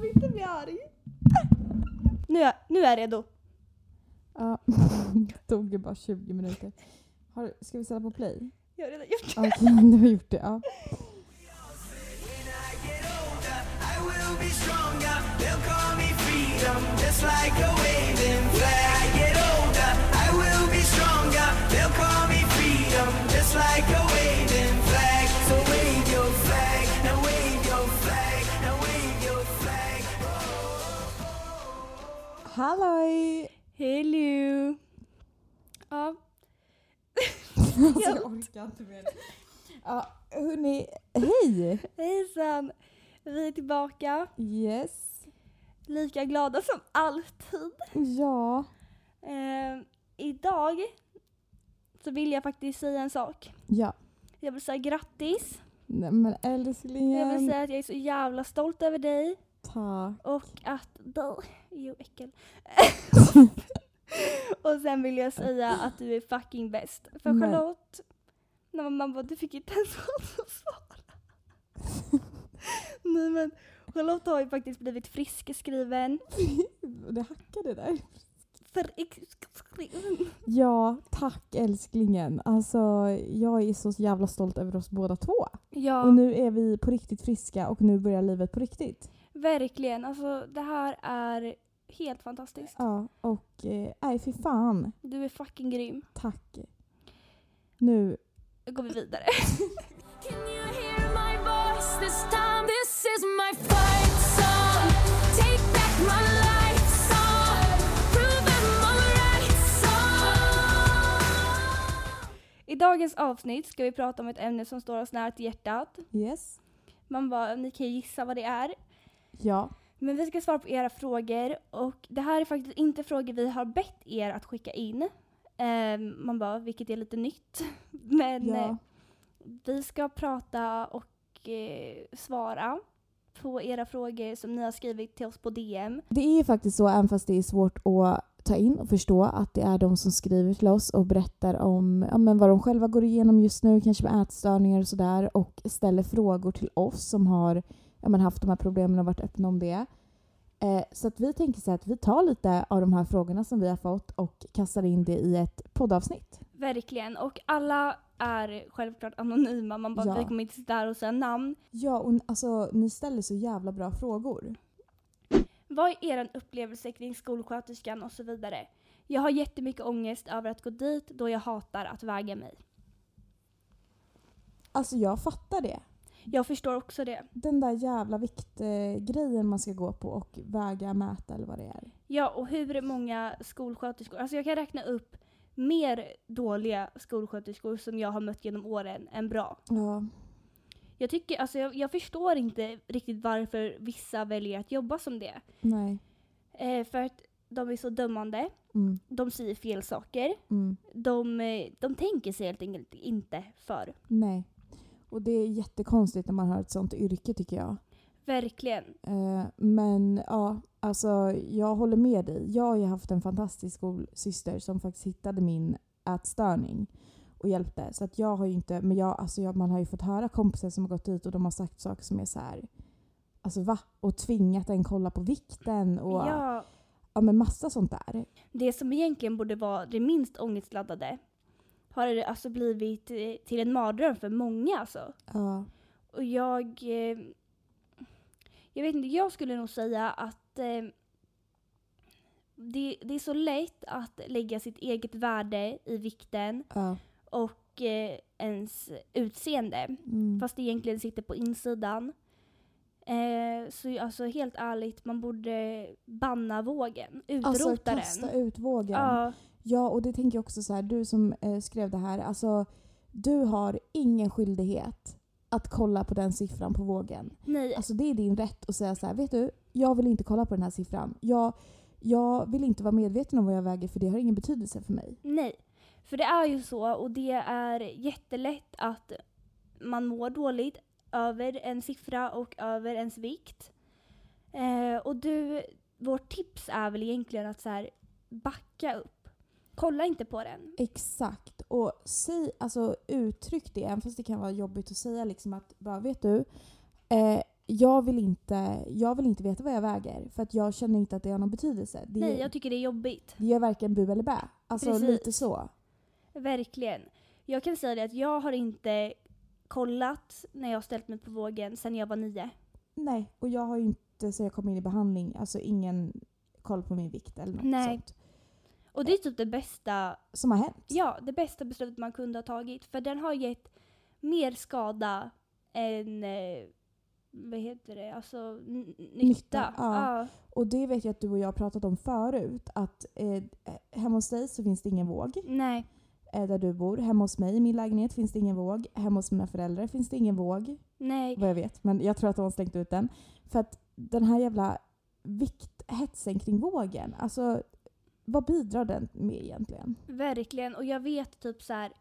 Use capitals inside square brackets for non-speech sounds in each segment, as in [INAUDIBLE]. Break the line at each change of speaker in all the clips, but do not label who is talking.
vill inte bli arg. Nu är, nu är jag redo.
Ja. [LAUGHS] Tog ju bara 20 minuter. Har, ska vi sätta på play?
Jag har redan gjort det.
[LAUGHS] Okej, du har gjort det. Ja.
Like a waving flag, so wave your flag, now wave your flag, now wave your flag.
Halloj!
Hello. Ja.
[LAUGHS] Alltså, jag orkar inte mer. Ja, hörni, hej!
Hejsan. Vi är tillbaka.
Yes.
Lika glada som alltid.
Ja.
Eh, idag så vill jag faktiskt säga en sak.
Ja.
Jag vill säga grattis.
Nej, men
Jag vill
älsklingen.
säga att jag är så jävla stolt över dig.
Tack. [LAUGHS]
Och att du... Jo, äckel. och sen vill jag säga att du är fucking bäst. För
Men-
Charlotte, när man bara, du fick inte ens [LAUGHS] chans att svara. Nej men, Charlotte har ju faktiskt blivit friskskriven.
Det hackade där.
Friskskriven.
Ja, tack älsklingen. Alltså, jag är så jävla stolt över oss båda två. Och
Ja,
nu är vi på riktigt friska och nu börjar livet på riktigt.
verkligen. Alltså det här är helt fantastiskt.
Ja, och eh, nej fy fan.
Du är fucking grym.
Tack. Nu.
Nu går vi vidare.
Can you hear my voice this time? This is my fight song. Take back my life song. Prove I'm alright song.
I dagens avsnitt ska vi prata om ett ämne som står oss nära till hjärtat.
Yes.
Man bara, ni kan ju gissa vad det är.
Ja.
Men vi ska svara på era frågor och det här är faktiskt inte frågor vi har bett er att skicka in. Ehm, man bara, vilket är lite nytt. [LAUGHS] Men eh,
ja.
vi ska prata och eh, svara på era frågor som ni har skrivit till oss på DM.
Det är ju faktiskt så, även fast det är svårt att ta in och förstå att det är de som skriver till oss och berättar om ja, men vad de själva går igenom just nu, kanske med ätstörningar och sådär och ställer frågor till oss som har ja, men haft de här problemen och varit öppna om det. Eh, så att vi tänker så här att vi tar lite av de här frågorna som vi har fått och kastar in det i ett poddavsnitt.
Verkligen. Och alla är självklart anonyma. Man bara,
Ja.
vi kommer inte sitta där och säga namn.
Ja, och n- alltså ni ställer så jävla bra frågor.
Vad är er upplevelse kring skolsköterskan och så vidare? Jag har jättemycket ångest över att gå dit då jag hatar att väga mig.
Alltså jag fattar det.
Jag förstår också det.
Den där jävla viktgrejen man ska gå på och väga, mäta eller vad det är.
Ja, och hur många skolsköterskor? Alltså jag kan räkna upp mer dåliga skolsköterskor som jag har mött genom åren än bra.
Ja,
Jag, tycker, alltså jag, jag förstår inte riktigt varför vissa väljer att jobba som det.
nej.
Eh, för att de är så dömande,
Mm,
de säger fel saker,
mm,
de, eh, de tänker sig helt enkelt inte för.
nej. Och det är jättekonstigt när man har ett sånt yrke tycker jag.
Verkligen.
Eh, men ja, alltså jag håller med dig. Jag har ju haft en fantastisk skolsyster som faktiskt hittade min ätstörning och hjälpte. Så att jag har ju inte, men jag, alltså jag, man har ju fått höra kompisar som har gått dit och de har sagt saker som är så här. Alltså va? Och tvingat en kolla på vikten och ja.
Ja,
men massa sånt där.
det som egentligen borde vara det minst ångestladdade har det alltså blivit eh, till en mardröm för många alltså.
Ja.
Och jag... Eh, jag vet inte, jag skulle nog säga att eh, det, det är så lätt att lägga sitt eget värde i vikten
ja.
och eh, ens utseende.
Mm.
Fast det egentligen sitter på insidan. Eh, så ju- alltså helt ärligt, man borde banna vågen. Utrota
Alltså
den.
kasta ut vågen.
Ja,
Ja, och det tänker jag också så här, du som eh, skrev det här, alltså du har ingen skyldighet att kolla på den siffran på vågen.
nej.
Alltså det är din rätt att säga så här, vet du, jag vill inte kolla på den här siffran. Jag, jag vill inte vara medveten om vad jag väger för det har ingen betydelse för mig.
Nej. För det är ju så och det är jättelätt att man mår dåligt över en siffra och över ens vikt. Eh, och du, vårt tips är väl egentligen att så här, backa upp. Kolla inte på den.
Exakt. Och säg, alltså uttryck det, även fast det kan vara jobbigt att säga liksom att bara, vet du, eh, jag vill, inte, jag vill inte veta vad jag väger för att jag känner inte att det har någon betydelse. Det,
Nej, jag tycker det är jobbigt.
det gör varken bu eller bä. Alltså
Precis.
lite så.
Verkligen. Jag kan säga det att jag har inte kollat när jag har ställt mig på vågen sedan jag var nio.
Nej, och jag har ju inte så jag kom in i behandling, alltså ingen koll på min vikt eller något
Nej.
sånt.
Och det är typ det bästa,
Som har hänt.
ja, det bästa beslutet man kunde ha tagit. För den har gett mer skada än, eh, vad heter det, alltså n- nytta.
Nytta, ja.
Ja.
Och det vet jag att du och jag har pratat om förut. Att eh, hemma hos dig så finns det ingen våg
Nej,
eh, där du bor. Hemma hos mig i min lägenhet finns det ingen våg. Hemma hos mina föräldrar finns det ingen våg.
nej.
Vad jag vet. Men jag tror att de har slängt ut den. För att den här jävla vikthetsen kring vågen. Alltså vad bidrar den med egentligen?
Verkligen, och jag vet typ så här.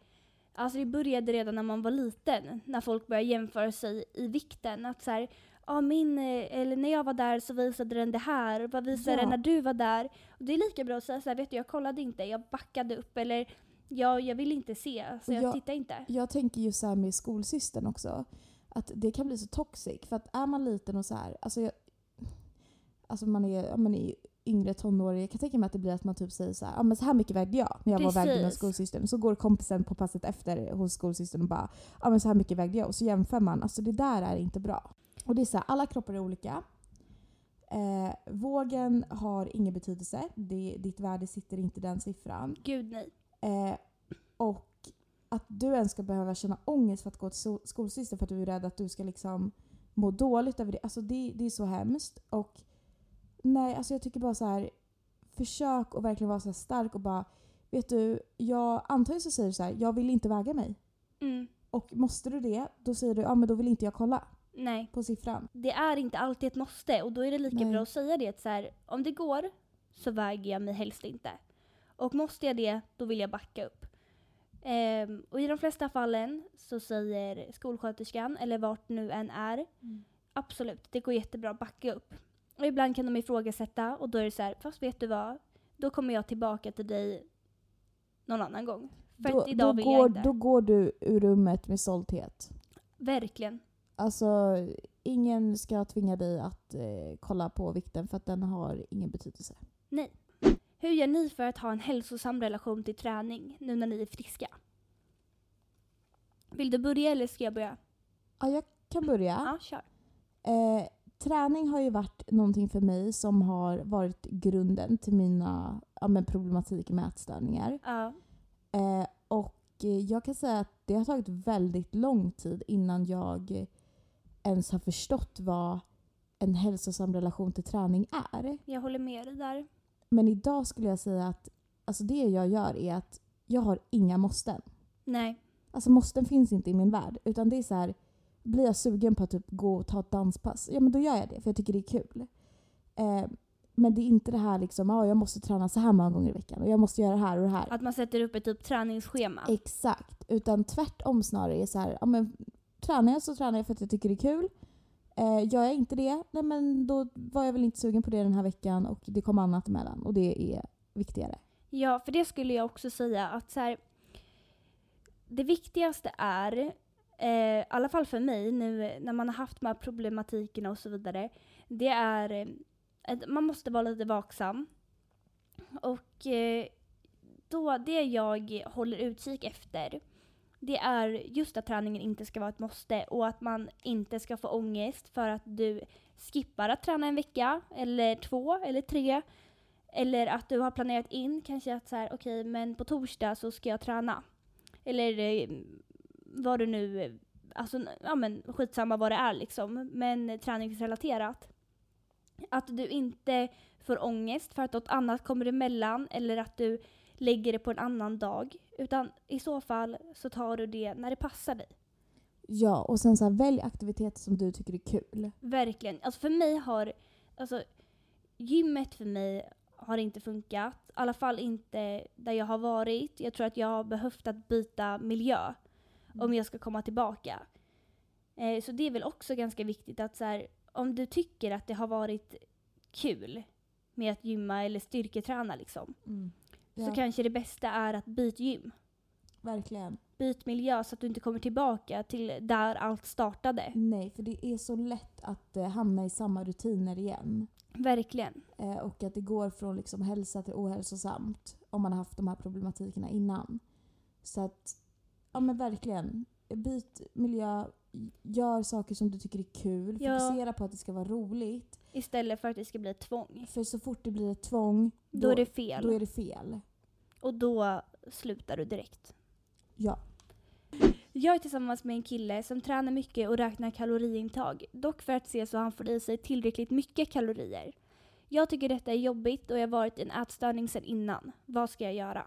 Alltså det började redan när man var liten, när folk började jämföra sig i vikten. Att så här, ah, min, eh, eller när jag var där så visade den det här, vad visade
Ja.
den när du var där? Och det är lika bra att säga så här, vet du jag kollade inte, jag backade upp eller jag, jag vill inte se, så
Och
jag,
jag-
tittade inte.
Jag tänker ju så här med skolsystern också. Att det kan bli så toxic. För att är man liten och så här. Alltså, jag, alltså man är, ja, man är yngre tonåring. Jag kan tänka mig att det blir att man typ säger så här. Ja men så här mycket vägde jag när jag var vägd med
Precis.
skolsystern. Så går kompisen på passet efter hos skolsystern och bara. Ja men så här mycket vägde jag. Och så jämför man. Alltså det där är inte bra. Och det är så här. Alla kroppar är olika. Eh, vågen har ingen betydelse. Det, ditt värde sitter inte i den siffran.
Gud nej.
Eh, och att du ens ska behöva känna ångest för att gå till so- skolsystern för att du är rädd att du ska liksom må dåligt över det. Alltså det, det är så hemskt. Och nej, alltså jag tycker bara så här. Försök att verkligen vara så här stark och bara Vet du, jag antar så säger du så här, jag vill inte väga mig.
Mm,
Och måste du det, då säger du, ja men då vill inte jag kolla
nej.
på siffran.
det är inte alltid ett måste och då är det lika
Nej.
bra att säga det att så här, om det går så väger jag mig helst inte. Och måste jag det, då vill jag backa upp. Ehm, och i de flesta fallen så säger skolsköterskan, eller vart nu än är,
Mm.
absolut, det går jättebra, backa upp. Och ibland kan de ifrågasätta och då är det så här, fast vet du vad, då kommer jag tillbaka till dig någon annan gång. För
Då,
att idag
då,
vill jag
går,
inte.
då går du ur rummet med stolthet.
Verkligen.
Alltså, ingen ska tvinga dig att eh, kolla på vikten för att den har ingen betydelse.
Hur gör ni för att ha en hälsosam relation till träning nu när ni är friska? Vill du börja eller ska jag börja?
Ja, jag kan börja.
Ja, kör.
Eh, träning har ju varit någonting för mig som har varit grunden till mina ja, men problematik med ätstörningar.
Ja,
Eh, och eh, jag kan säga att det har tagit väldigt lång tid innan jag ens har förstått vad en hälsosam relation till träning är.
jag håller med dig där.
Men idag skulle jag säga att alltså det jag gör är att jag har inga måsten.
Nej,
Alltså måsten finns inte i min värld. Utan det är så här, blir jag sugen på att typ gå och ta ett danspass, ja men då gör jag det för jag tycker det är kul. Eh, men det är inte det här liksom, ah, jag måste träna så här många gånger i veckan och jag måste göra det här och det här.
att man sätter upp ett typ träningsschema.
Exakt. Utan tvärtom snarare är så här, ja men tränar jag så tränar jag för att jag tycker det är kul. Eh, gör jag inte det, nej men då var jag väl inte sugen på det den här veckan och det kom annat emellan och det är viktigare.
Ja, för det skulle jag också säga att så här, det viktigaste är, eh, i alla fall för mig nu när man har haft de här problematikerna och så vidare, det är eh, att man måste vara lite vaksam. Och eh, då, det jag håller utkik efter, det är just att träningen inte ska vara ett måste och att man inte ska få ångest för att du skippar att träna en vecka eller två eller tre. Eller att du har planerat in kanske att så här, okej, men på torsdag så ska jag träna. Eller eh, vad du nu, eh, alltså ja men skitsamma vad det är liksom, men träningsrelaterat. Att du inte får ångest för att något annat kommer emellan eller att du lägger det på en annan dag. Utan i så fall så tar du det när det passar dig.
Ja, och sen så här, välj aktiviteter som du tycker är kul.
Verkligen. Alltså för mig har, alltså gymmet för mig har inte funkat. I alla fall inte där jag har varit. Jag tror att jag har behövt att byta miljö om jag ska komma tillbaka. Eh, så det är väl också ganska viktigt att så här, om du tycker att det har varit kul med att gymma eller styrketräna liksom,
Ja,
så kanske det bästa är att byta gym.
Verkligen.
byt miljö så att du inte kommer tillbaka till där allt startade.
Nej, för det är så lätt att eh, hamna i samma rutiner igen.
Verkligen.
Eh, och att det går från liksom hälsa till ohälsosamt om man har haft de här problematikerna innan. Så att, ja men verkligen. Byt miljö, gör saker som du tycker är kul,
Ja.
fokusera på att det ska vara roligt.
Istället för att det ska bli ett tvång.
För så fort det blir ett tvång,
Då, är det fel.
då är det fel.
Och då slutar du direkt.
Ja.
Jag är tillsammans med en kille som tränar mycket och räknar kaloriintag. Dock för att se så han får i sig tillräckligt mycket kalorier. Jag tycker detta är jobbigt och jag har varit i en ätstörning sedan innan. Vad ska jag göra?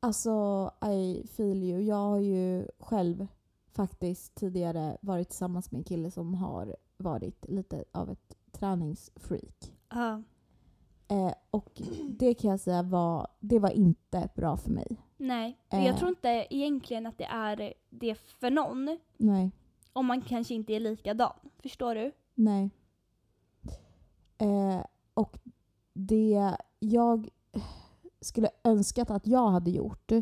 Alltså, I feel you. Jag har ju själv faktiskt tidigare varit tillsammans med en kille som har varit lite av ett träningsfreak.
Ja.
Eh, och det kan jag säga var, det var inte bra för mig.
Nej, men jag
Eh.
tror inte egentligen att det är det för någon.
Nej.
Om man kanske inte är likadan. Förstår du?
Nej. Eh, och det jag skulle önskat att jag hade gjort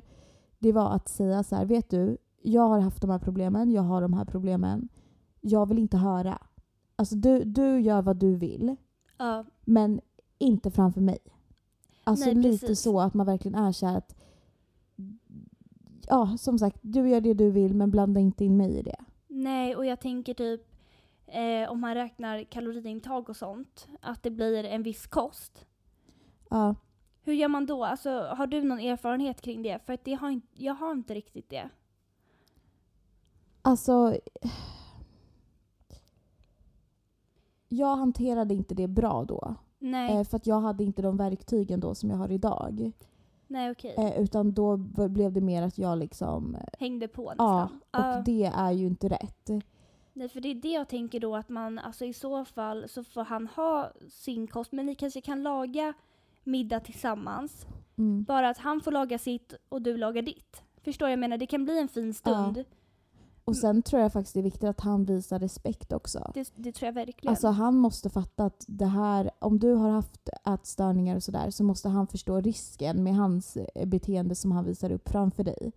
det var att säga så här, vet du, jag har haft de här problemen, jag har de här problemen. Jag vill inte höra. Alltså du, du gör vad du vill,
Ja.
men inte framför mig. Alltså
Nej,
lite
precis.
så att man verkligen är så här att ja, som sagt, du gör det du vill men blanda inte in mig i det.
Nej, och jag tänker typ eh, om man räknar kaloriintag och sånt. Att det blir en viss kost.
Ja.
Hur gör man då? Alltså, har du någon erfarenhet kring det? För att det har inte, jag har inte riktigt det.
Alltså... [SIGHS] Jag hanterade inte det bra då.
Nej,
Eh, För att jag hade inte de verktygen då som jag har idag.
nej okej.
Eh, Utan då b- blev det mer att jag liksom... eh,
Hängde på
Ja,
nästan.
och
Ja.
det är ju inte rätt.
Nej, för det är det jag tänker då att man, alltså i så fall så får han ha sin kost. Men ni kanske kan laga middag tillsammans.
Mm.
Bara att han får laga sitt och du lagar ditt. Förstår jag menar? Det kan bli en fin stund.
Och sen tror jag faktiskt det är viktigt att han visar respekt också.
Det, det tror jag verkligen.
Alltså han måste fatta att det här, om du har haft ätstörningar och sådär så måste han förstå risken med hans eh, beteende som han visar upp framför dig.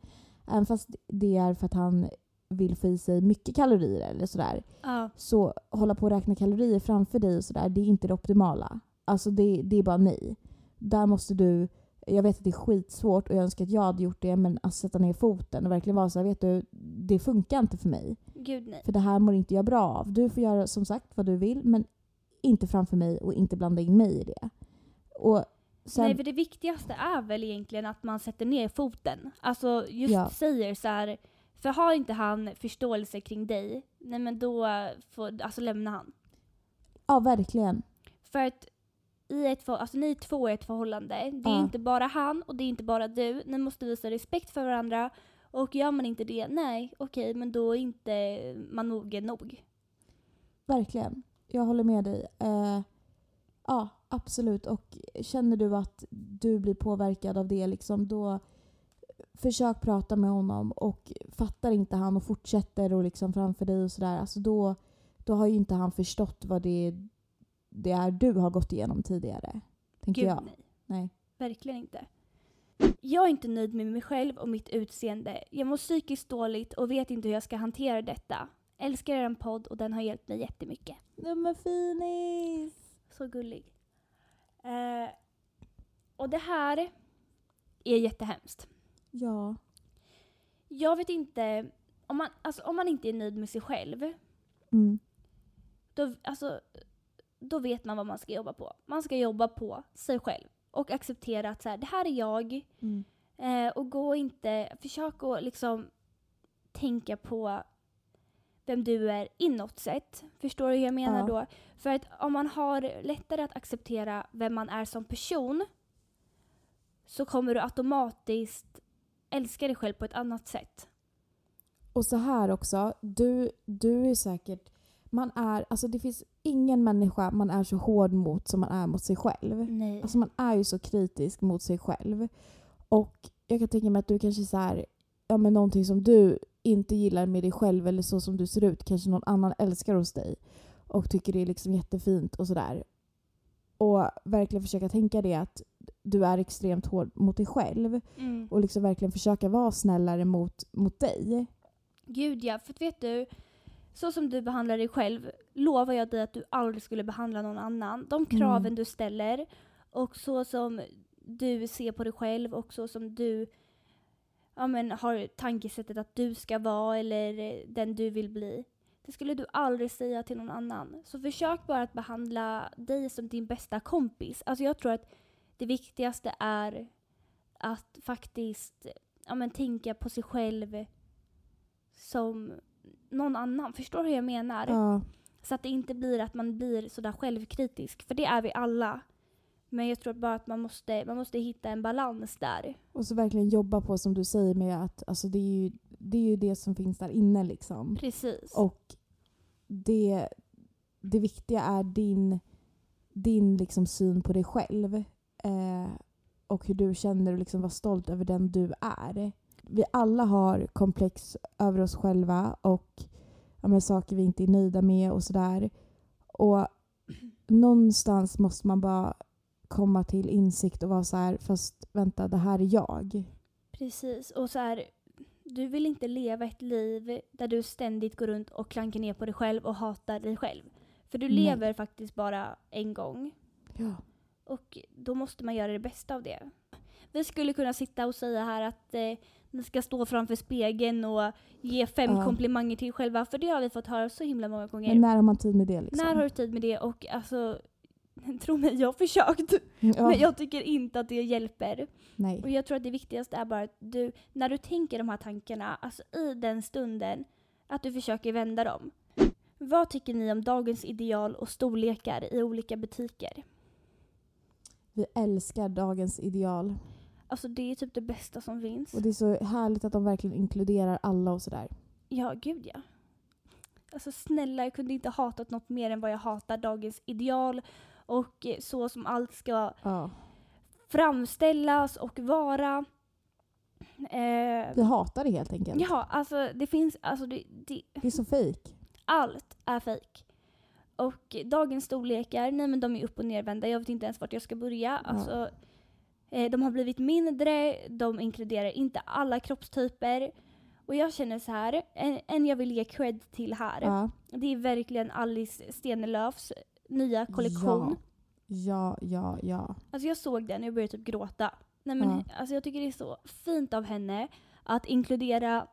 Även fast det är för att han vill få i sig mycket kalorier eller sådär
ja.
så hålla på och räkna kalorier framför dig och sådär det är inte det optimala. Alltså det, det är bara nej. Där måste du, jag vet att det är skitsvårt och jag önskar att jag hade gjort det men att sätta ner foten och verkligen vara såhär vet du, det funkar inte för mig.
Gud nej.
För det här mår inte jag bra av. Du får göra som sagt vad du vill men inte framför mig och inte blanda in mig i det. Och sen,
Nej, för det viktigaste är väl egentligen att man sätter ner foten. Alltså just
Ja.
säger så här, för har inte han förståelse kring dig, nej men då får, alltså lämna han.
ja verkligen.
För att i ett, för- alltså ni två är ett förhållande. Det är
Ja.
inte bara han och det är inte bara du. Ni måste visa respekt för varandra. Och gör man inte det, nej okej men då är inte man mogen nog.
Verkligen. Jag håller med dig. Eh, ja, absolut. Och känner du att du blir påverkad av det, liksom, då försök prata med honom. Och fattar inte han och fortsätter och liksom framför dig och sådär, alltså då, då har ju inte han förstått vad det, det är du har gått igenom tidigare. Tänker
Gud
jag.
nej.
Nej.
Verkligen inte. Jag är inte nöjd med mig själv och mitt utseende. Jag mår psykiskt dåligt och vet inte hur jag ska hantera detta. Älskar er podd och den har hjälpt mig jättemycket.
Nummer finis!
Så gullig. Eh, och det här är jättehemskt.
Ja.
Jag vet inte, om man, alltså, om man inte är nöjd med sig själv,
Mm.
då, alltså, då vet man vad man ska jobba på. Man ska jobba på sig själv och acceptera att så här, det här är jag,
Mm.
Eh, och gå inte, försök att liksom tänka på vem du är inåt sett. Förstår du hur jag menar
Ja.
då? För att om man har lättare att acceptera vem man är som person så kommer du automatiskt älska dig själv på ett annat sätt.
Och så här också, du, du är säkert... Man är, alltså det finns ingen människa man är så hård mot som man är mot sig själv.
Nej.
Alltså man är ju så kritisk mot sig själv. Och jag kan tänka mig att du kanske så här, ja men någonting som du inte gillar med dig själv eller så som du ser ut kanske någon annan älskar hos dig och tycker det är liksom jättefint och sådär. Och verkligen försöka tänka det att du är extremt hård mot dig själv
Mm.
och liksom verkligen försöka vara snällare mot, mot dig.
Gud ja, för att vet du, så som du behandlar dig själv lovar jag dig att du aldrig skulle behandla någon annan. De kraven
Mm.
du ställer och så som du ser på dig själv och så som du ja, men, har tankesättet att du ska vara eller eh, den du vill bli. Det skulle du aldrig säga till någon annan. Så försök bara att behandla dig som din bästa kompis. Alltså jag tror att det viktigaste är att faktiskt ja, men, tänka på sig själv som någon annan. Förstår du hur jag menar?
Ja,
Så att det inte blir att man blir sådär självkritisk, för det är vi alla. Men jag tror bara att man måste, man måste hitta en balans där.
och så verkligen jobba på som du säger med att alltså, det, är ju, det är ju det som finns där inne liksom.
Precis.
Och det, det viktiga är din, din liksom syn på dig själv eh, och hur du känner och liksom vara stolt över den du är. Vi alla har komplex över oss själva och ja, men, saker vi inte är nöjda med och sådär. Och någonstans måste man bara komma till insikt och vara så här, fast vänta, det här är jag.
Precis. Och så här, du vill inte leva ett liv där du ständigt går runt och klankar ner på dig själv och hatar dig själv. För du
Nej.
lever faktiskt bara en gång.
Ja.
Och då måste man göra det bästa av det. Vi skulle kunna sitta och säga här att eh, ni ska stå framför spegeln och ge fem
Ja.
komplimanger till er själva, för det har vi fått höra så himla många gånger.
Men när har man tid med det? Liksom?
När har du tid med det? Och alltså, [LAUGHS] tro mig, jag har försökt.
ja.
Men jag tycker inte att det hjälper.
Nej.
Och jag tror att det viktigaste är bara att du, när du tänker de här tankarna, alltså i den stunden, att du försöker vända dem. Vad tycker ni om dagens ideal och storlekar i olika butiker?
Vi älskar dagens ideal.
Alltså det är typ det bästa som finns.
Och det är så härligt att de verkligen inkluderar alla och sådär.
Ja, gud ja. Alltså snälla, jag kunde inte hatat något mer än vad jag hatar dagens ideal och eh, så som allt ska
Ja.
framställas och vara. Eh,
Vi hatar det helt enkelt.
ja, alltså det finns, alltså det, det,
Det är så fejk.
allt är fejk. Och dagens storlekar, nej men de är upp och nervända. Jag vet inte ens vart jag ska börja. Alltså, eh, de har blivit mindre, de inkluderar inte alla kroppstyper. Och jag känner så här, en, en jag vill ge cred till här,
Ja.
det är verkligen Alice Stenelöfs nya kollektion.
Ja, ja, ja. ja.
Alltså jag såg den och jag började typ gråta. Nej men
Ja.
alltså jag tycker det är så fint av henne att inkludera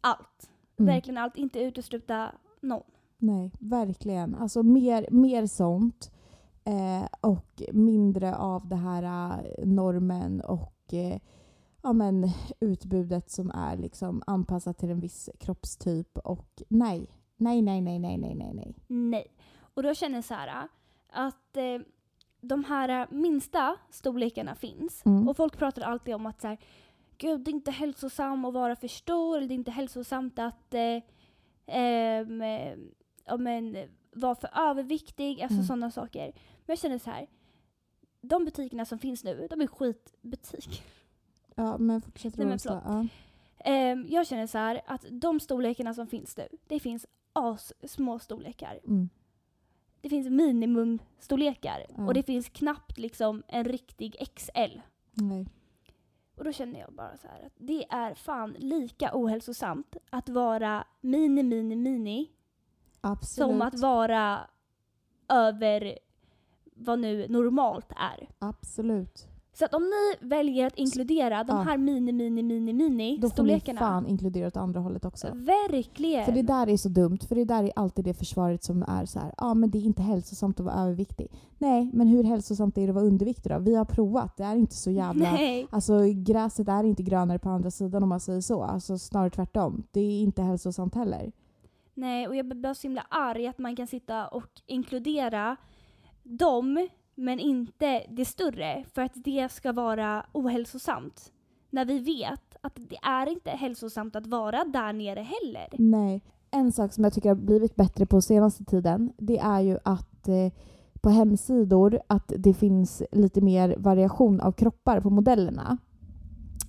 allt.
Mm.
Verkligen allt, inte utesluta någon.
Nej, verkligen. Alltså mer, mer sånt. Eh, och mindre av det här eh, normen och eh, ja, men, utbudet som är liksom anpassat till en viss kroppstyp. Och nej, nej, nej, nej, nej, nej, nej. nej.
Nej. Och då känner Sara att eh, de här eh, minsta storlekarna finns.
Mm.
Och folk pratar alltid om att så här, Gud, det är inte hälsosamt att vara för stor. Eller det är inte hälsosamt att eh, ehm, eh, ja, men, eh, vara för överviktig. Alltså
Mm.
sådana saker. Men jag känner så här. De butikerna som finns nu, de är skitbutiker.
Ja, men fortsätt
Nej, men
Rosa. Ja. Mm.
Ehm, jag känner så här att de storlekarna som finns nu, det finns as små storlekar.
Mm.
det finns minimumstorlekar
Ja.
och det finns knappt liksom en riktig XL.
Nej.
Och då känner jag bara så här att det är fan lika ohälsosamt att vara mini, mini, mini
Absolut.
som att vara över vad nu normalt är.
Absolut.
Så att om ni väljer att inkludera de
Ja.
här mini, mini, mini, mini
Då får ni
storlekarna. Eh.
fan inkludera åt andra hållet också.
Verkligen!
För det där är så dumt, för det där är alltid det försvaret som är så här, ja ah, men det är inte hälsosamt att vara överviktig. Nej, men hur hälsosamt är det att vara underviktig då? Vi har provat, det är inte så
[LAUGHS]
jävla...
Nej,
Alltså gräset är inte grönare på andra sidan om man säger så. Alltså snarare tvärtom. Det är inte hälsosamt heller.
nej, och jag blir bara så himla arg att man kan sitta och inkludera dem, men inte det större, för att det ska vara ohälsosamt. När vi vet att det är inte hälsosamt att vara där nere heller.
Nej. En sak som jag tycker har blivit bättre på senaste tiden det är ju att eh, på hemsidor att det finns lite mer variation av kroppar på modellerna.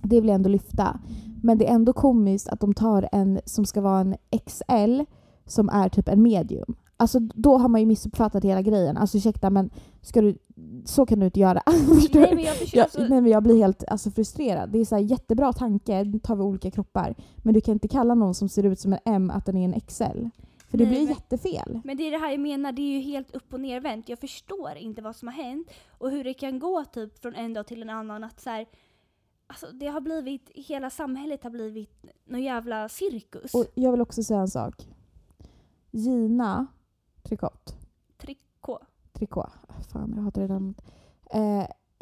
Det vill jag ändå lyfta. Men det är ändå komiskt att de tar en som ska vara en XL som är typ en medium. Alltså då har man ju missuppfattat hela grejen. Alltså ursäkta men ska du, så kan du inte göra. [LAUGHS] Förstår
Nej
du?
men jag förstår.
jag,
alltså,
nej, men jag blir helt alltså, frustrerad. Det är så här, jättebra tanke, nu tar vi olika kroppar. Men du kan inte kalla någon som ser ut som en M att den är en XL. För det
Nej,
blir
men-
jättefel.
Men det är det här jag menar, det är ju helt upp och nervänt. Jag förstår inte vad som har hänt och hur det kan gå typ från en dag till en annan att så här, alltså det har blivit, hela samhället har blivit någon jävla cirkus.
Och jag vill också säga en sak. Gina Tricot.
Trikå.
Tricot. Ah, Fan, jag hatar det namnet. Eh,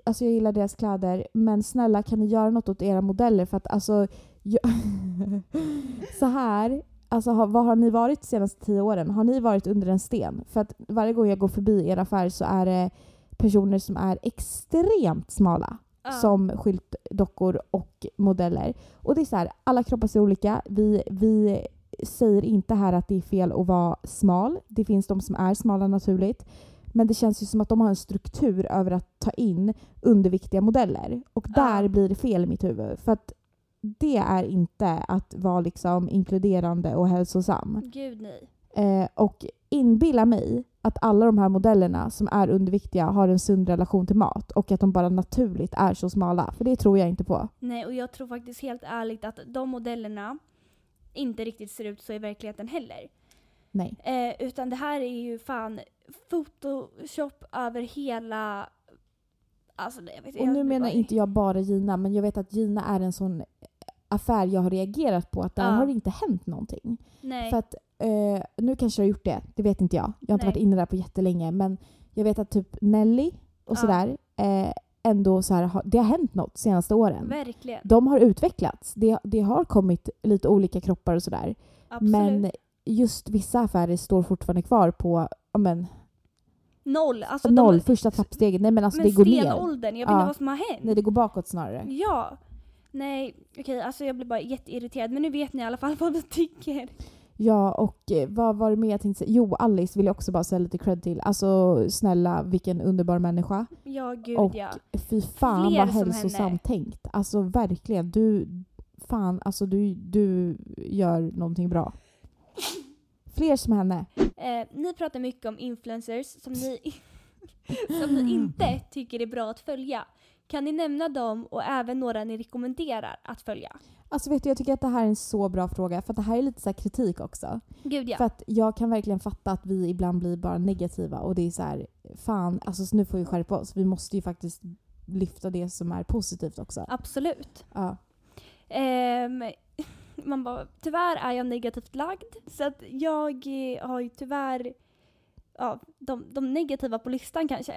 alltså jag gillar deras kläder, men snälla kan ni göra något åt era modeller? För att alltså... Jag [LAUGHS] så här, alltså har, vad har ni varit de senaste tio åren? Har ni varit under en sten? För att varje gång jag går förbi er affär så är det personer som är extremt smala
Ja.
som skyltdockor och modeller. Och det är så här, alla kroppar ser olika. Vi, vi säger inte här att det är fel att vara smal. Det finns de som är smala naturligt. Men det känns ju som att de har en struktur över att ta in underviktiga modeller. Och
Ja.
där blir det fel i mitt huvud. För att det är inte att vara liksom inkluderande och hälsosam.
Gud nej.
Eh, och inbilla mig att alla de här modellerna som är underviktiga har en sund relation till mat och att de bara naturligt är så smala. För det tror jag inte på.
Nej och jag tror faktiskt helt ärligt att de modellerna inte riktigt ser ut så i verkligheten heller.
Nej.
Eh, utan det här är ju fan photoshop över hela... Alltså, jag vet
Och nu menar
jag,
inte jag bara Gina, men jag vet att Gina är en sån affär jag har reagerat på att där
Ja.
har det inte hänt någonting.
Nej.
För att, eh, nu kanske jag har gjort det, det vet inte jag. Jag har inte
Nej.
varit inne där på jättelänge men jag vet att typ Nelly och
Ja.
sådär eh, ändå så här, har- det har hänt något senaste åren.
Verkligen.
De har utvecklats. Det, det har kommit lite olika kroppar och sådär.
Absolut.
Men just vissa affärer står fortfarande kvar på ja, men,
noll. Alltså,
noll,
De,
första trappsteget. Nej men alltså
men Mm.
det går ner.
stenåldern, jag vet inte
Ja.
vad som har hänt.
Nej det går bakåt snarare.
Ja. Nej, okej, alltså jag blir bara jätteirriterad. Men nu vet ni i alla fall [LAUGHS] vad vi tycker.
Ja och eh, vad var det mer jag tänkte säga? Jo Alice vill jag också bara säga lite cred till. Alltså snälla vilken underbar människa.
Ja, gud
Och
ja.
Fy fan
Fler
vad
som henne.
hälsosamt tänkt. Alltså verkligen. Du, fan alltså du, du gör någonting bra. Fler som henne.
Eh, ni pratar mycket om influencers som ni, [LAUGHS] som ni inte tycker är bra att följa. Kan ni nämna dem och även några ni rekommenderar att följa?
Alltså vet du jag tycker att det här är en så bra fråga för att det här är lite så här kritik också.
Gud ja.
För att jag kan verkligen fatta att vi ibland blir bara negativa och det är så här, fan, alltså så nu får vi skärpa oss. Vi måste ju faktiskt lyfta det som är positivt också.
Absolut.
Ja.
Ehm, [LAUGHS] man bara, tyvärr är jag negativt lagd. Så att jag eh, har ju tyvärr ja, de, de negativa på listan kanske.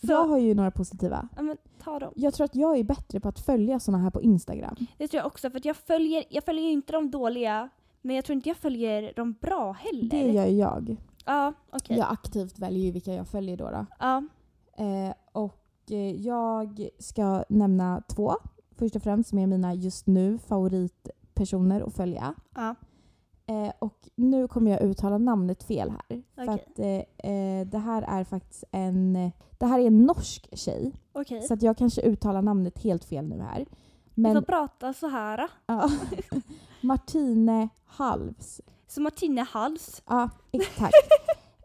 Så
Jag har ju några positiva.
ja, men, ta dem.
Jag tror att jag är bättre på att följa såna här på Instagram.
Det tror jag också för att jag följer, jag följer ju inte de dåliga men jag tror inte jag följer de bra heller.
Det gör ju jag.
Ja, okej.
Jag aktivt väljer ju vilka jag följer då. då.
Ja.
Eh, och eh, jag ska nämna två. Först och främst som är mina just nu favoritpersoner att följa.
Ja.
Eh, och nu kommer jag uttala namnet fel här. För
Okej.
att eh, eh, det här är faktiskt en... eh, Det här är en norsk tjej.
Okej.
Så att jag kanske uttalar namnet helt fel nu här.
Vi får
Men
prata så här.
ja, [LAUGHS] Martine Halvs.
Som Martine Hals.
Ja, exakt.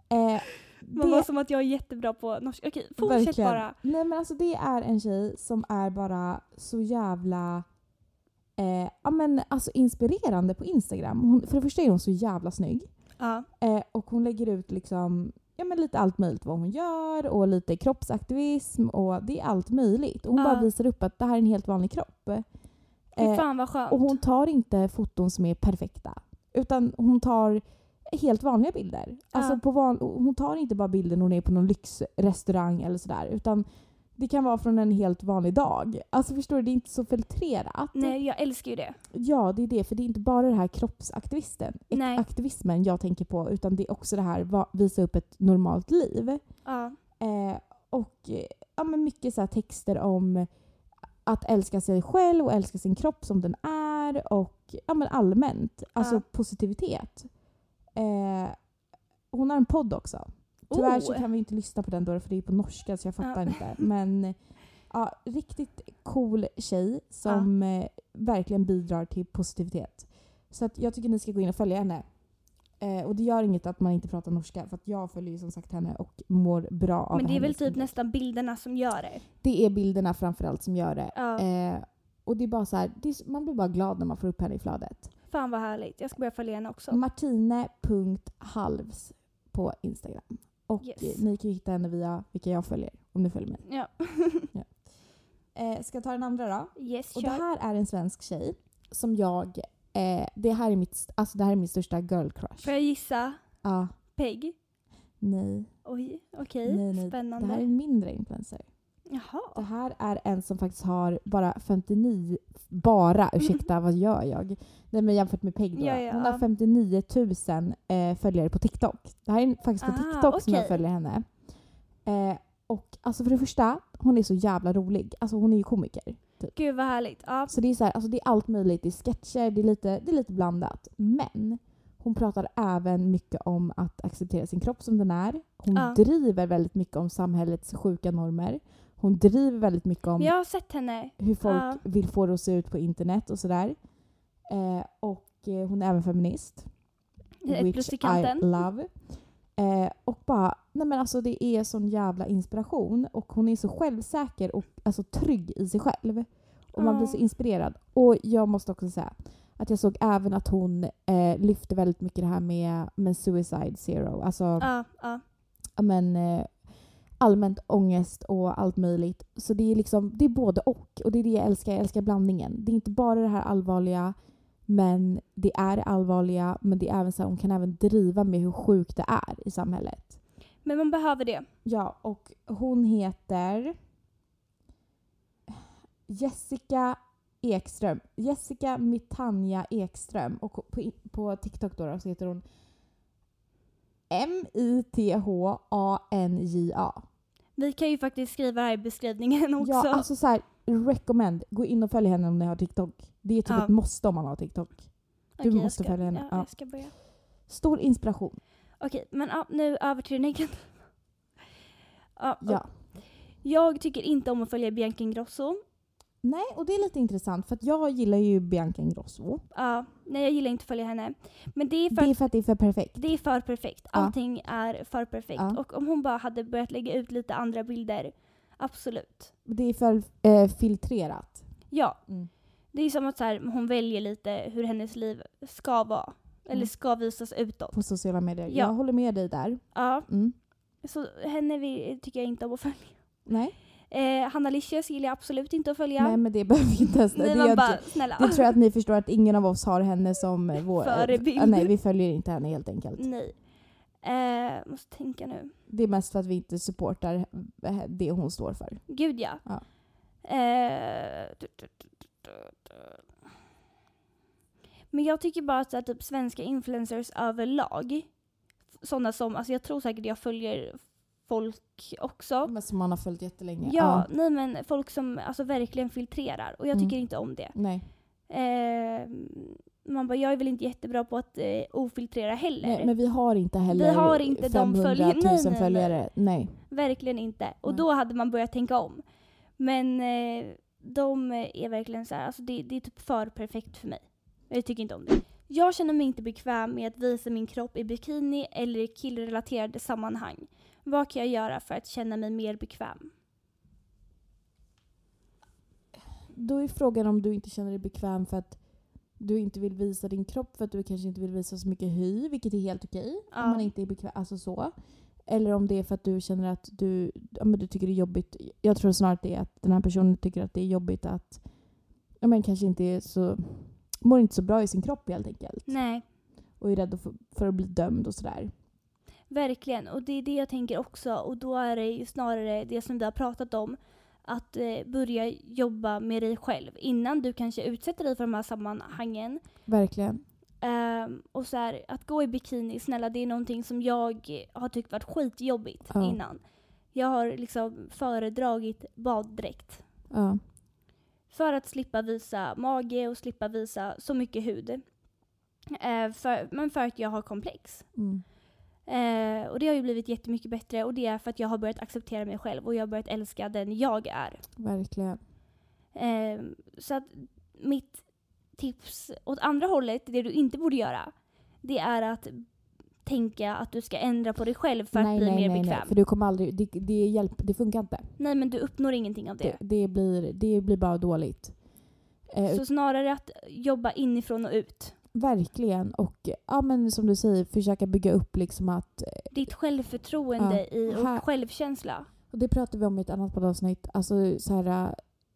eh,
[LAUGHS] Man var
det,
som att jag är jättebra på norska. Okej, fortsätt
verkligen.
bara.
Nej men alltså det är en tjej som är bara så jävla eh, ja, men alltså inspirerande på Instagram. Hon, för det första är hon så jävla snygg.
Ja.
Eh, och hon lägger ut liksom, ja, men lite allt möjligt vad hon gör och lite kroppsaktivism och det är allt möjligt. Och hon
Ja.
bara visar upp att det här är en helt vanlig kropp.
Fy
Eh,
fan vad skönt.
och hon tar inte foton som är perfekta utan hon tar helt vanliga bilder. Alltså
Ja.
på van- hon tar inte bara bilder när hon är på någon lyxrestaurang eller sådär utan det kan vara från en helt vanlig dag. Alltså förstår du, det är inte så filtrerat.
Nej, jag älskar ju det.
Ja, det är det. För det är inte bara det här kroppsaktivisten,
Nej.
aktivismen jag tänker på utan det är också det här va- visa upp ett normalt liv.
Ja.
Eh, och eh, ja, men mycket så här texter om att älska sig själv och älska sin kropp som den är och ja, men allmänt, alltså
Ja.
positivitet. Eh, hon har en podd också. Tyvärr så
Oh.
kan vi inte lyssna på den då för det är på norska så jag fattar
Ja.
inte. Men eh, ja, riktigt cool tjej som eh, verkligen bidrar till positivitet. Så att jag tycker ni ska gå in och följa henne. Eh, och det gör inget att man inte pratar norska för att jag följer ju som sagt henne och mår bra av
Men det är väl
hennes
typ
content.
nästan bilderna som gör det.
Det är bilderna framförallt som gör det.
Ja.
Eh, och det är bara så här, det är, s- man blir bara glad när man får upp henne i flödet.
Fan vad härligt. Jag ska börja följa henne
Mm.
också.
Martine.halvs på Instagram. Och
Yes.
eh, ni kan ju hitta henne via vilka jag följer, om ni följer mig.
Ja. [LAUGHS]
Eh, ska jag ta den andra då?
Yes,
Och det
kör.
här är en svensk tjej som jag... Eh, det, här är mitt, st- alltså det här är min största girl crush.
Får jag gissa?
Ja,
Peg?
nej,
Oj, okej.
nej, nej. Det
Spännande.
här är en mindre influencer. Det
Jaha.
här är en som faktiskt har bara 59... Bara, ursäkta vad gör jag? Nej men jämfört med Peg då.
Mm. Ja, ja,
Hon
ja.
har 59 000 eh, följare på TikTok. Det här är faktiskt på
Ah,
TikTok som jag
okej.
följer henne. Eh, och alltså för det första, hon är så jävla rolig. Alltså hon är ju komiker.
Gud vad härligt. Ja.
Så det är, så här, alltså det är allt möjligt. Det är sketcher, det är, lite, det är lite blandat. Men hon pratar även mycket om att acceptera sin kropp som den är. Hon
Ja.
driver väldigt mycket om samhällets sjuka normer. Hon driver väldigt mycket om
Men jag har sett henne.
hur folk
Ja.
vill få det att se ut på internet och sådär. Eh, och eh, hon är även feminist.
i eh, Ett plus
Which
i
I
kanten.
love. Eh, och bara, nej men alltså det är sån jävla inspiration och hon är så självsäker och alltså trygg i sig själv. Och man blir så
Ja.
inspirerad. Och jag måste också säga att jag såg även att hon eh, lyfte väldigt mycket det här med, med suicide zero. Alltså
Ja, ja.
ja, men, eh, allmänt ångest och allt möjligt. Så det är liksom, det är både och. Och det är det jag älskar. Jag älskar blandningen. Det är inte bara det här allvarliga, men det är det allvarliga. Men det är även så här, hon kan även driva med hur sjukt det är i samhället.
Men man behöver det.
Ja, och hon heter Jessica Ekström. Jessica Mitanja Ekström. Och på, på TikTok då, då så heter hon M-I-T-H-A-N-J-A.
Vi kan ju faktiskt skriva här i beskrivningen [LAUGHS] också.
Ja, alltså så här, recommend. Gå in och följ henne om ni har TikTok. Det är typ
Ja.
ett måste om man har TikTok.
Okej, jag
måste
ska,
följa henne.
Ja,
Ja.
Jag ska börja.
Stor inspiration.
Okej, men ja, nu över till den negativa. [LAUGHS] Ja, och
Ja.
Jag tycker inte om att följa Bianca Ingrosso.
Nej, och det är lite intressant för att jag gillar ju Bianca Ingrosso.
Ja, nej, jag gillar inte att följa henne. Men det är för
Det
att
är för att det är för perfekt.
det är för perfekt.
Ja.
Allting är för perfekt.
Ja.
Och om hon bara hade börjat lägga ut lite andra bilder, absolut.
Det är för eh, filtrerat.
Ja.
Mm.
Det är som att så här, hon väljer lite hur hennes liv ska vara. Eller
Mm.
ska visas utåt.
på sociala medier.
Ja.
Jag håller med dig där.
Ja,
Mm.
så henne vi, tycker jag inte om att följa.
Nej.
Eh, Hanna Licious gillar jag absolut inte att följa.
Nej, men det behöver vi inte ens...
Nej,
Det,
man
gör
bara,
inte-
snälla.
det tror jag att ni förstår att ingen av oss har henne som eh, vår...
Förebild. Mm.
Ah, nej, vi följer inte henne helt
[LAUGHS]
enkelt.
Nej. Eh, måste tänka nu.
Det är mest för att vi inte supportar eh, det hon står för.
Gud ja.
Ja.
Eh, du- du- du- du- du- du. Men jag tycker bara att så här, typ, svenska influencers överlag, sådana som, alltså jag tror säkert jag följer folk också.
Men som man har följt jättelänge.
Ja, nej men folk som alltså, verkligen filtrerar och jag
Mm.
tycker inte om det.
Nej.
Eh, man bara, jag är väl inte jättebra på att eh, ofiltrera heller.
Nej, men vi har inte heller
Vi har inte de
500 000
följ- nej, nej, nej.
följare. Nej.
Verkligen inte. Och
Nej.
då hade man börjat tänka om. Men eh, de är verkligen så här, alltså det, det är typ för perfekt för mig. Jag tycker inte om det. Jag känner mig inte bekväm med att visa min kropp i bikini eller i killrelaterade sammanhang. Vad kan jag göra för att känna mig mer bekväm?
Då är frågan om du inte känner dig bekväm för att du inte vill visa din kropp för att du kanske inte vill visa så mycket hy, vilket är helt okej.
Ja.
Om man inte är bekväm, alltså så. Eller om det är för att du känner att du, ja, men du tycker det är jobbigt. Jag tror snarare att det är att den här personen tycker att det är jobbigt att, ja men kanske inte är så, mår inte så bra i sin kropp helt enkelt.
Nej,
Och är rädd för, för att bli dömd och sådär.
verkligen. Och det är det jag tänker också. Och då är det ju snarare det som vi har pratat om. Att eh, börja jobba med dig själv innan du kanske utsätter dig för de här sammanhangen.
Verkligen.
Ehm, och så här, att gå i bikini, snälla det är någonting som jag har tyckt varit skitjobbigt
Ja.
innan. Jag har liksom föredragit baddräkt.
Ja.
För att slippa visa mage och slippa visa så mycket hud. Eh, för, men för att jag har komplex.
Mm.
Eh, och det har ju blivit jättemycket bättre och det är för att jag har börjat acceptera mig själv och jag har börjat älska den jag är.
Verkligen.
Ehm, så att mitt tips åt andra hållet, det du inte borde göra, det är att tänka att du ska ändra på dig själv för att
nej,
bli
nej,
mer
nej,
bekväm.
nej, för du kommer aldrig, det, det, hjälp, det funkar inte.
Nej men du uppnår ingenting av det.
Det, det, blir, det blir bara dåligt. Eh,
Så snarare att jobba inifrån och ut.
Verkligen. Och ja, men som du säger, försöka bygga upp liksom att...
Ditt självförtroende i, och
Här-
självkänsla.
Och det pratade vi om i ett annat poddavsnitt. Alltså så här, eh,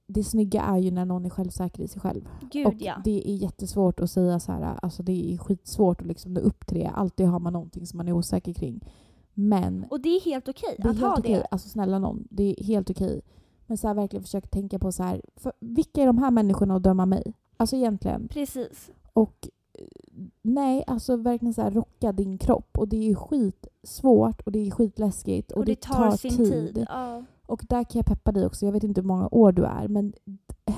det snygga är ju när någon är självsäker i sig själv.
Gud
och
ja.
det är jättesvårt att säga så här, eh, alltså det är skitsvårt att liksom nå upp till det. Alltid har man någonting som man är osäker kring. Men
Och det är helt okej
det är
att ha
helt okej.
det.
Alltså snälla någon, det är helt okej. Men så här, verkligen försöka tänka på så här, för, vilka är de här människorna att döma mig? Alltså egentligen.
Precis.
Och eh, nej, alltså verkligen så här rocka din kropp. Och det är skitsvårt och det är skitläskigt.
Och,
Och,
det, tar, sin tid. Ja.
Och där kan jag peppa dig också. Jag vet inte hur många år du är, men eh,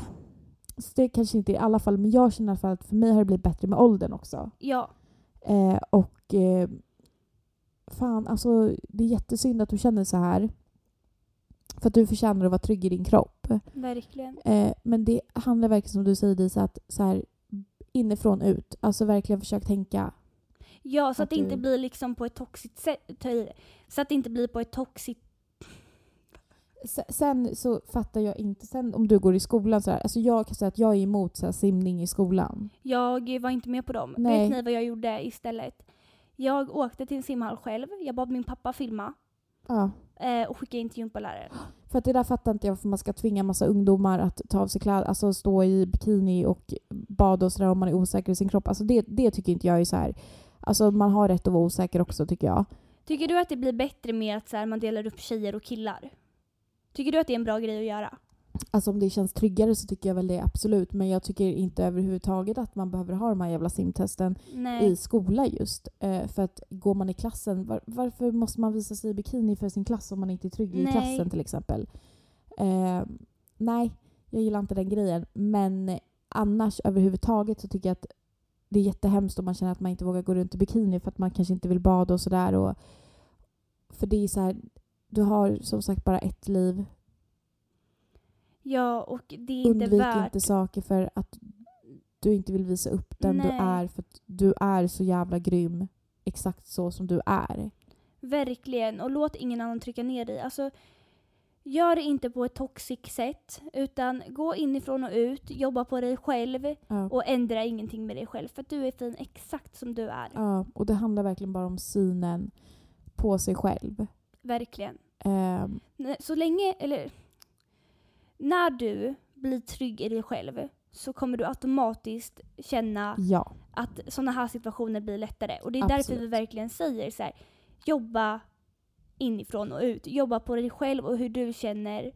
så det kanske inte i alla fall, men jag känner i alla fall att för mig har det blivit bättre med åldern också.
ja.
Eh, och eh, fan, alltså det är jättesynd att du känner så här. För att du förtjänar att vara trygg i din kropp.
Verkligen.
Eh, men det handlar verkligen som du säger Disa, att så här, inifrån ut. Alltså verkligen försök tänka.
Ja, så att,
Att
det inte
du-
blir liksom på ett toxiskt sätt. ta i det. Så att det inte blir på ett toxiskt...
Se- Sen så fattar jag inte, sen om du går i skolan så här, alltså jag kan säga att jag är emot så här, simning i skolan.
Jag var inte med på dem.
Nej.
Vet ni vad jag gjorde istället? Jag åkte till en simhall själv. Jag bad min pappa filma
Ja.
eh, och skicka in till gympaläraren.
För att det där fattar inte jag varför man ska tvinga massa ungdomar att ta av sig kläder, alltså stå i bikini och bada och sådär om man är osäker i sin kropp. Alltså det, det tycker inte jag är så här. Alltså man har rätt att vara osäker också tycker jag.
Tycker du att det blir bättre med att så här, man delar upp tjejer och killar? Tycker du att det är en bra grej att göra?
Alltså om det känns tryggare så tycker jag väl det absolut. Men jag tycker inte överhuvudtaget att man behöver ha de här jävla simtesten
Nej.
i skola just. Eh, för att går man i klassen, var, varför måste man visa sig i bikini för sin klass om man inte är trygg i
Nej.
klassen till exempel? Eh, nej, jag gillar inte den grejen. Men annars överhuvudtaget så tycker jag att det är jättehemskt om man känner att man inte vågar gå runt i bikini för att man kanske inte vill bada och sådär. Och, för det är så här, du har som sagt bara ett liv.
Ja, och det är inte
Undvik
värt...
inte saker för att du inte vill visa upp den du
Nej.
är för att du är så jävla grym exakt så som du är.
Verkligen. Och låt ingen annan trycka ner dig. Alltså, gör det inte på ett toxic sätt. Utan gå inifrån och ut, jobba på dig själv
Ja.
och ändra ingenting med dig själv. För att du är fin exakt som du är.
ja, och det handlar verkligen bara om synen på sig själv.
Verkligen.
Ehm,
N- Så länge, eller... När du blir trygg i dig själv så kommer du automatiskt känna
ja,
att sådana här situationer blir lättare. Och det är därför
Absolut.
vi verkligen säger så här, jobba inifrån och ut. Jobba på dig själv och hur du känner.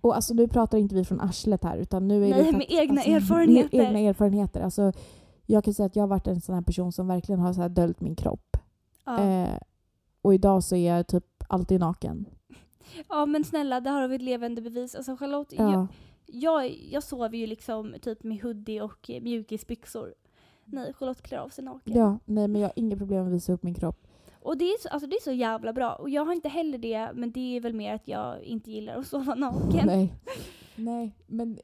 och alltså nu pratar inte vi från arslet här utan nu är
Nej,
det
med egna
alltså,
erfarenheter.
Med egna erfarenheter. Alltså, jag kan säga att jag har varit en sån här person som verkligen har så här döljt min kropp.
Ja.
Eh, och idag så är jag typ alltid naken.
ja men snälla, där har vi ett levande bevis. Alltså Charlotte, jag,
Ja.
jag, jag sover ju liksom typ med hoodie och eh, mjukisbyxor. Nej, Charlotte klär av sig naken.
ja, nej men jag har inga problem med att visa upp min kropp.
Och det är, så, alltså, det är så jävla bra. Och jag har inte heller det, men det är väl mer att jag inte gillar att sova naken.
Nej. Nej, men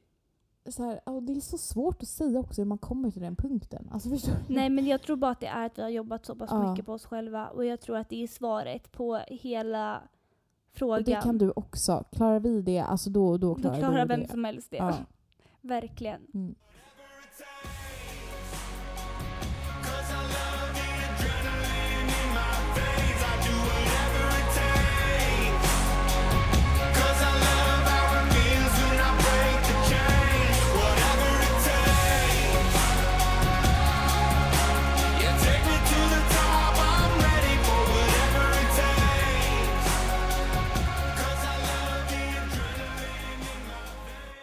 så här, ja, det är så svårt att säga också hur man kommer till den punkten. Alltså, förstår du?
Nej men jag tror bara att det är att vi har jobbat så pass
Ja.
mycket på oss själva och jag tror att det är svaret på hela
och
frågan.
det kan du också. Klarar vi det, alltså då,
Då
då klarar,
klarar
du
vem
det.
som helst det.
Ja.
[LAUGHS] Verkligen.
Mm.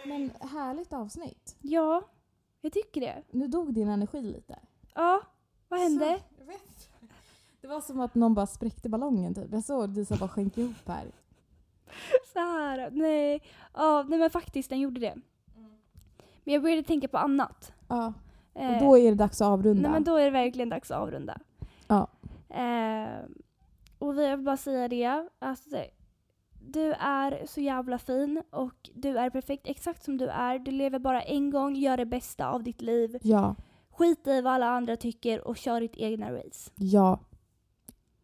Men härligt avsnitt.
Ja, jag tycker det.
Nu dog din energi lite.
Ja, vad hände?
Så, jag vet. Det var som att någon bara spräckte ballongen typ. Jag såg Disa bara sjönk ihop här.
[LAUGHS] Så här, nej. Ja, nej men faktiskt den gjorde det. Men jag började tänka på annat.
Ja.
Eh,
Och då är det dags att avrunda.
nej men då är det verkligen dags att avrunda.
Ja.
Eh, och vi vill bara säga det att eh, du är så jävla fin och du är perfekt exakt som du är. Du lever bara en gång, gör det bästa av ditt liv.
Ja,
Skit i vad alla andra tycker och kör ditt egna race.
ja.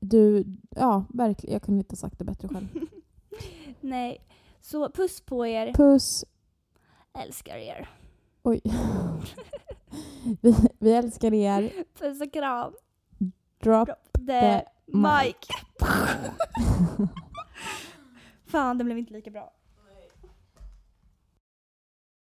Du, ja verkligen, jag kunde inte ha sagt det bättre själv.
Nej. Så puss på er.
Puss!
Älskar er.
Oj. [LAUGHS] vi, vi älskar er.
Puss och kram.
Drop
The Mike. [LAUGHS] Fan, det blev inte lika bra.